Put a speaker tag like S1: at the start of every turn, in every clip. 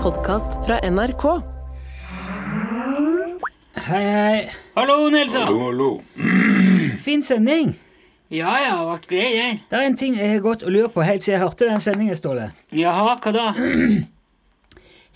S1: podkast fra NRK.
S2: Hei, hei.
S3: Hallo, Nelson.
S2: Fin sending.
S3: Ja, ja, vært grei, jeg.
S2: Det er en ting jeg har gått og lurt på helt siden jeg hørte den sendingen, Ståle.
S3: Jaha, hva da?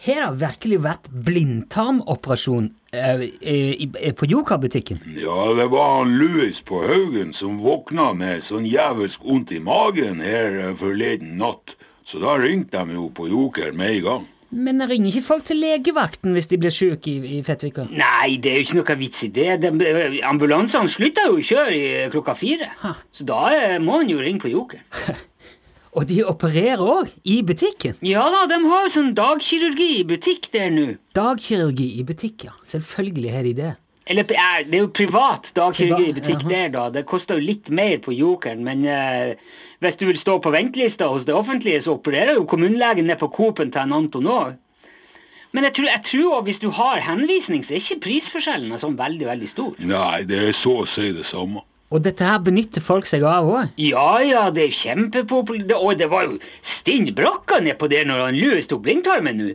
S2: Har det virkelig vært blindtarmoperasjon eh, i- i- på Joker-butikken?
S4: Ja, det var han Louis på Haugen som våkna med sånn jævelsk vondt i magen her eh, forleden natt. Så da ringte de jo på Joker med en gang.
S2: Men det ringer ikke folk til legevakten hvis de blir syke i, i Fettvika?
S3: Nei, det er jo ikke noe vits i det. De, eh, ambulansene slutta jo å kjøre i eh, klokka fire.
S2: Ha.
S3: Så da eh, må en jo ringe på Joker.
S2: Og de opererer òg, i butikken.
S3: Ja da, de har jo sånn dagkirurgi i butikk der nå.
S2: Dagkirurgi i butikk, ja. Selvfølgelig har de det.
S3: Eller eh, det er jo privat dagkirurgi i
S2: Privat,
S3: butikk
S2: jaha.
S3: der, da. Det koster jo litt mer på Jokeren, men eh, hvis du vil stå på ventelista hos det offentlige, så opererer jo kommunelegen ned på Coop-en til en Anton òg. Men jeg tror, jeg tror også hvis du har henvisning, så er ikke prisforskjellen sånn veldig, veldig stor.
S4: Nei, det er så å si det samme.
S2: Og dette her benytter folk seg av òg.
S3: Ja, ja, det er kjempepopulært. Det- Og det var jo stinn brakka nedpå der når han Louis tok blindtarmen nå.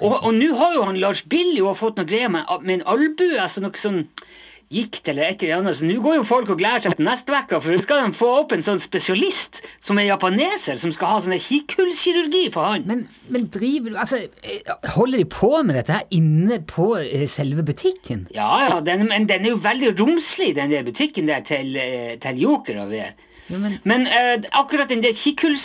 S3: Og og nå har jo han Lars Billy jo fått noe greier med, med en albue, altså noe sånn gikt eller et eller annet. Så nå går jo folk og gleder seg til neste uke, for nå skal de få opp en sånn spesialist som er japaneser, som skal ha sånn der kikkhullskirurgi for han.
S2: Men, men driver du Altså, eh, holder de på med dette her inne på eh, selve butikken?
S3: Ja, ja, den, men den er jo veldig romslig, den der butikken der til, eh, til Joker. og det.
S2: Ja, men-
S3: Men eh, akkurat den der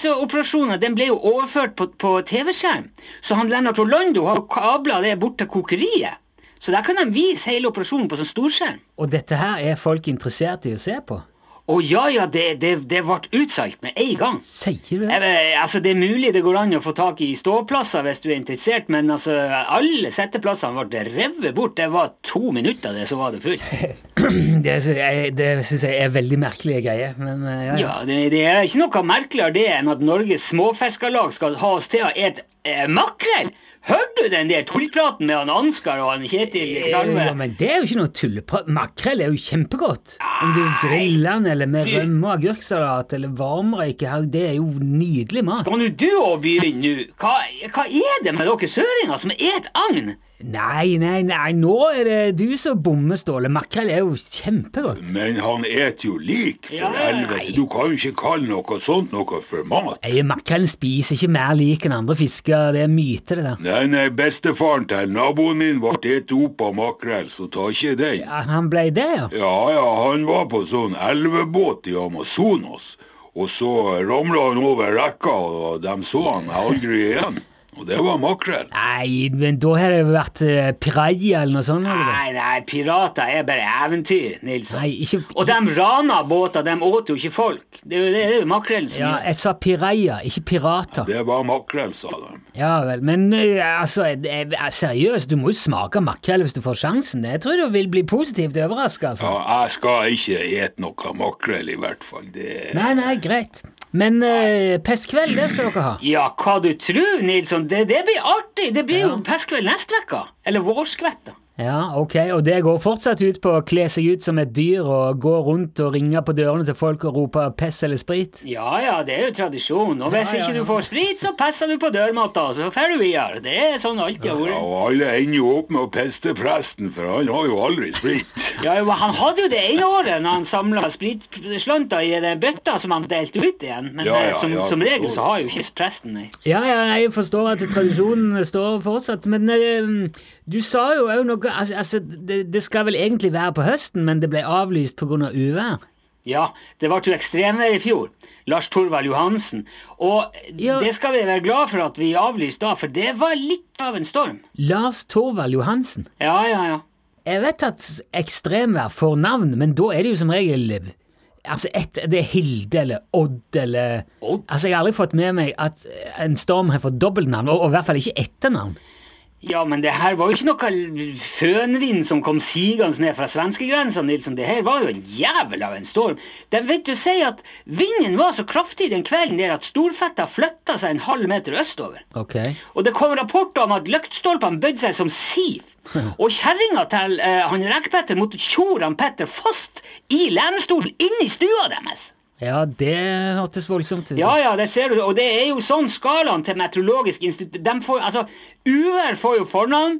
S3: kikkhullsoperasjonen den ble jo overført på, på TV-skjerm. Så han Lennart Orlando har jo kabla det bort til kokeriet. Så der kan de vise hele operasjonen på sånn storskjerm.
S2: Og dette her er folk interessert i å se på?
S3: Å ja, ja, det, det, det ble utsolgt med en gang.
S2: Sier du det?
S3: Jeg vet- altså, Det er mulig det går an å få tak i ståplasser hvis du er interessert, men altså, alle setteplassene ble revet bort. Det var to minutter, det, så var det fullt.
S2: Det, sy- jeg- det syns jeg er veldig merkelige greier. Men eh, ja, ja.
S3: Ja, det, det er ikke noe merkeligere det enn at Norges småfiskerlag skal ha oss til å et eh, makrell. Hørte du den der tullpraten med han Ansgar og han Kjetil Klarve?
S2: Ja, men det er jo ikke noe tulleprat. Makrell er jo kjempegodt. Om du griller den eller med
S3: Du-
S2: rømme og agurksalat eller varmrøyke, her, det er jo nydelig mat.
S3: Kan jo du òg begynne nå? Hva, hva er det med dere søringer som er et agn?
S2: Nei, nei, nei, nå er det du som bommer, Ståle. Makrell er jo kjempegodt.
S4: Men han et jo lik, for
S3: Ja, ja,
S4: helvete. Du kan jo ikke kalle noe sånt noe for mat.
S2: Nei, Makrellen spiser ikke mer lik enn andre fisker. Det er myte, det der.
S4: Nei, nei, bestefaren til naboen min ble spist opp av makrell, så ta ikke den.
S2: Ja, han blei det, ja.
S4: Ja, ja, han var på sånn elvebåt i Amazonas. Og så ramla han over rekka, og de så han aldri igjen. Og det var makrell.
S2: Nei, men da har det jo vært eh, piraja eller noe sånt. Eller?
S3: Nei, nei, pirater er bare eventyr, Nilsson.
S2: Nei, ikke
S3: Og de rana båter, de åt jo ikke folk. Det er jo, det er jo makrellen som
S2: Ja,
S3: gjør det.
S2: jeg sa piraja, ikke pirater.
S4: Det var makrell, sa de.
S2: Ja vel, men eh, altså, eh, eh, seriøst, du må jo smake makrell hvis du får sjansen. Jeg tror du vil bli positivt overraska, altså.
S4: Ja, jeg skal ikke ete noe makrell, i hvert fall. Det
S2: Nei, nei, greit. Men eh, pestkveld, det skal dere ha.
S3: Ja, hva du tror, Nilsson. Det, det blir artig. Det blir
S2: Ja.
S3: jo pestkveld neste uke. Eller vårskvetta.
S2: Ja, ok, og det går fortsatt ut på å kle seg ut som et dyr og gå rundt og ringe på dørene til folk og rope pess eller sprit?
S3: Ja, ja, det er jo tradisjon. Og hvis
S2: Ja, ja, ja.
S3: ikke du får sprit, så passer du på dørmatta, og så drar du videre. Det er sånn alltid har
S4: ja,
S3: vært.
S4: og alle ender jo opp med å peste presten, for han har jo aldri sprit.
S3: Ja, jo, han hadde jo det ene året når han samla spritslanter i den bøtta som han delte ut igjen, men
S4: Ja, ja,
S3: eh, som,
S4: ja,
S3: som regel
S4: forstår.
S3: så har jo ikke presten nei.
S2: Ja, ja, jeg forstår at tradisjonen står fortsatt, men eh, du sa jo òg noe altså, altså, det, det skal vel egentlig være på høsten, men det ble avlyst pga. Av uvær?
S3: Ja, det ble jo ekstremvær i fjor. Lars Torvald Johansen. Og
S2: Ja.
S3: det skal vi være glad for at vi avlyste da, for det var litt av en storm.
S2: Lars Torvald Johansen.
S3: Ja, ja, ja.
S2: Jeg vet at ekstremvær får navn, men da er det jo som regel Altså, et, det er Hilde eller Odd eller
S3: Odd?
S2: Altså, jeg har aldri fått med meg at en storm har fått dobbeltnavn, og, og i hvert fall ikke etternavn.
S3: Ja, men det her var jo ikke noe l- fønvind som kom sigende ned fra svenskegrensa, Nilsson. Det her var jo en jævel av en storm. De vet du si at vinden var så kraftig den kvelden der at storfetta flytta seg en halv meter østover.
S2: Ok.
S3: Og det kom rapporter om at lyktstolpene bødde seg som siv. Og kjerringa til eh, han Rekk-Petter måtte tjore han Petter fast i lenestolen inni stua deres.
S2: Ja, det hørtes voldsomt ut.
S3: Ja, ja, det ser du. Og det er jo sånn skalaen til Meteorologisk institutt de får, altså, Uvær får jo fornavn,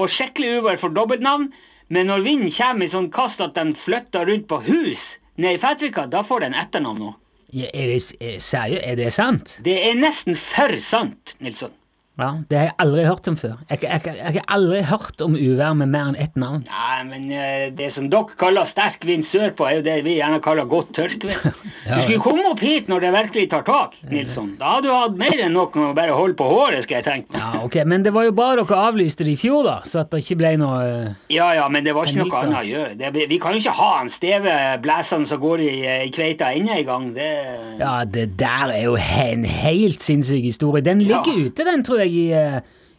S3: og skikkelig uvær får dobbeltnavn. Men når vinden kommer i sånn kast at den flytter rundt på hus nede i Fettvika, da får den etternavn òg.
S2: Ja, Er det, s- eh, seriø- er det sant?
S3: Det er nesten for sant, Nilsson.
S2: Ja, Det har jeg aldri hørt om før. Jeg, jeg, jeg, jeg har aldri hørt om uvær med mer enn ett navn.
S3: Nei, men eh, det som dere kaller sterk vind sørpå, er jo det vi gjerne kaller godt tørkevær. Du skulle komme opp hit når det virkelig tar tak, Nilsson. Da hadde du hatt mer enn nok med å bare holde på håret, skal jeg tenke.
S2: Ja, ok, Men det var jo bra dere avlyste det i fjor, da, så at det ikke ble noe eh,
S3: Ja, ja, men det var ikke noe
S2: Hendelser.
S3: annet å gjøre. Det, vi kan jo ikke ha en steve blæsende som går i, i kveita ennå en gang. Det,
S2: Ja, det der er jo en helt sinnssyk historie. Den
S3: Ja.
S2: ligger ute, den, tror jeg, i, eh,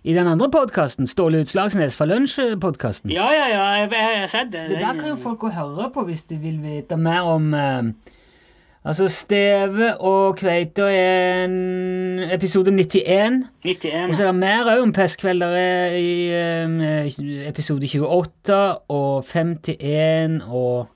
S2: i den andre podkasten. Ståle Utslagsnes fra Lunsj-podkasten.
S3: ja, ja, ja, jeg, jeg har sett det.
S2: Det der kan jo folk gå og høre på hvis de vil vite mer om eh, Altså, Steve og Kveita er en episode 91. Og
S3: 91.
S2: så er det mer òg om pestkvelder eh, i eh, episode 28 og 51 og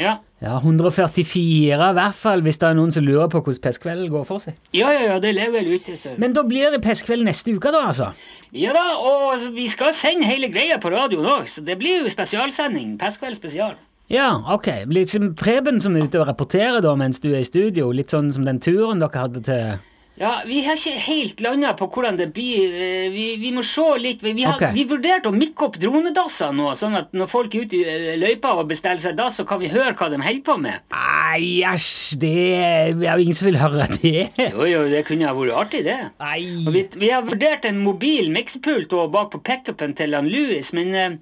S3: Ja.
S2: ja, 144 i hvert fall, hvis det er noen som lurer på hvordan pestkvelden går for seg.
S3: ja, ja, ja, det lever vel ute. Så.
S2: Men da blir det pestkveld neste uke, da, altså?
S3: Ja da, og vi skal sende hele greia på radioen òg, så det blir jo spesialsending. Pestkveld spesial.
S2: Ja, ok. Litt som Preben som er ute og rapporterer da mens du er i studio. Litt sånn som den turen dere hadde til
S3: Ja, vi har ikke helt landa på hvordan det blir. Eh, Vi, vi må se litt. Vi, vi har,
S2: Ok.
S3: vi vurderte å mikke opp dronedasser nå, sånn at når folk er ute i eh, løypa og bestiller seg dass, så kan vi høre hva de holder på med.
S2: Nei, æsj, det er det er jo ingen som vil høre det.
S3: Jo, jo, det kunne ha vært artig, det. Og vi,
S2: Nei.
S3: vi har vurdert en mobil miksepult og bak på pickupen til han Louis, men eh,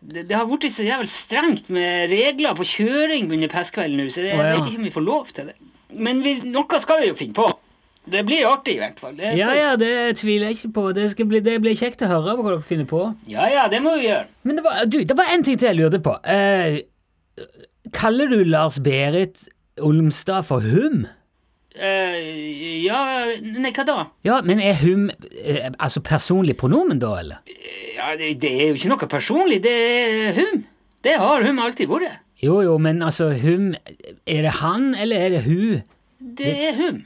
S3: det, det har blitt så jævlig strengt med regler på kjøring under pestkvelden nå, så det,
S2: Å,
S3: jeg
S2: ja.
S3: vet ikke om vi får lov til det. Men vi, noe skal vi jo finne på. Det blir artig, i hvert fall. Det,
S2: Ja ja, det tviler jeg ikke på. Det, skal bli, det blir kjekt å høre hva dere finner på.
S3: ja, ja, det må vi gjøre.
S2: Men det var, du, det var en ting til jeg lurte på. Eh, kaller du Lars-Berit Olmstad for hum?
S3: Eh, ja Nei, hva da?
S2: Ja, men er hum eh, altså personlig pronomen, da, eller?
S3: Eh, Ja, det, det er jo ikke noe personlig. Det er hum. Det har hum alltid vært.
S2: Jo, jo, men altså, hum Er det han, eller er det hun?
S3: Det er hum.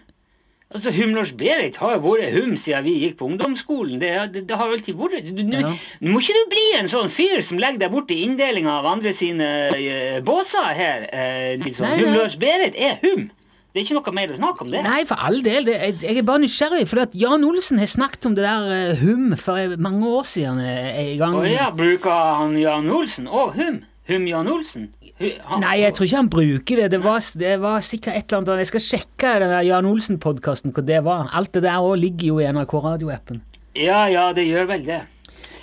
S3: Altså, Humlars-Berit har jo vært hum siden vi gikk på ungdomsskolen. Det, er- det, det har alltid vært du, du,
S2: Ja.
S3: Nå må ikke du bli en sånn fyr som legger deg borti inndelinga av andre sine eh, båser her. eh, liksom.
S2: Nei, nei.
S3: Humlars-Berit er hum. Det er ikke noe mer å snakke om det.
S2: Nei, for all del. Det, jeg, jeg er bare nysgjerrig, for at Jan Olsen har snakket om det der eh, hum for eh, mange år siden. eh, en gang.
S3: Og ja, bruker han Jan Olsen og hum? Hum-Jan Olsen? Hu- han-
S2: Nei, jeg tror ikke han bruker det. Det var, det var sikkert et eller annet annet. Jeg skal sjekke den der Jan Olsen-podkasten hvor det var. Alt det der også ligger jo i NRK radioappen.
S3: Ja, ja, det gjør vel det.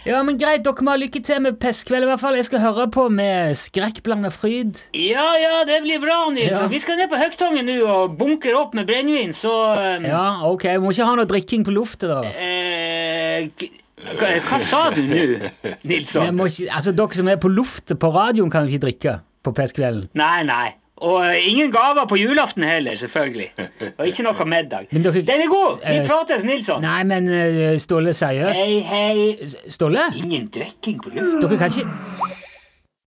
S2: Ja, men greit, dere må ha lykke til med pestkveld i hvert fall. Jeg skal høre på med skrekkblanda fryd.
S3: Ja, ja, det blir bra, Nils.
S2: Ja.
S3: Vi skal ned på Høgtangen nå og bunker opp med brennevin, så um,
S2: Ja, ok. Vi må ikke ha noe drikking på luftet, da.
S3: eh, k- hva, hva sa du nå,
S2: Vi
S3: Nilsson?
S2: må ikke, altså, dere som er på luftet på radioen, kan jo ikke drikke på pestkvelden.
S3: Nei, nei. Og eh, ingen gaver på julaften heller, selvfølgelig. Og ikke noe middag.
S2: Men dere-
S3: Den er god! Vi
S2: Eh,
S3: prates, Nilsson.
S2: Nei, men eh, Ståle, seriøst?
S3: Hei, hei.
S2: Ståle?
S3: Ingen drikking på luften.
S2: Dere kan ikke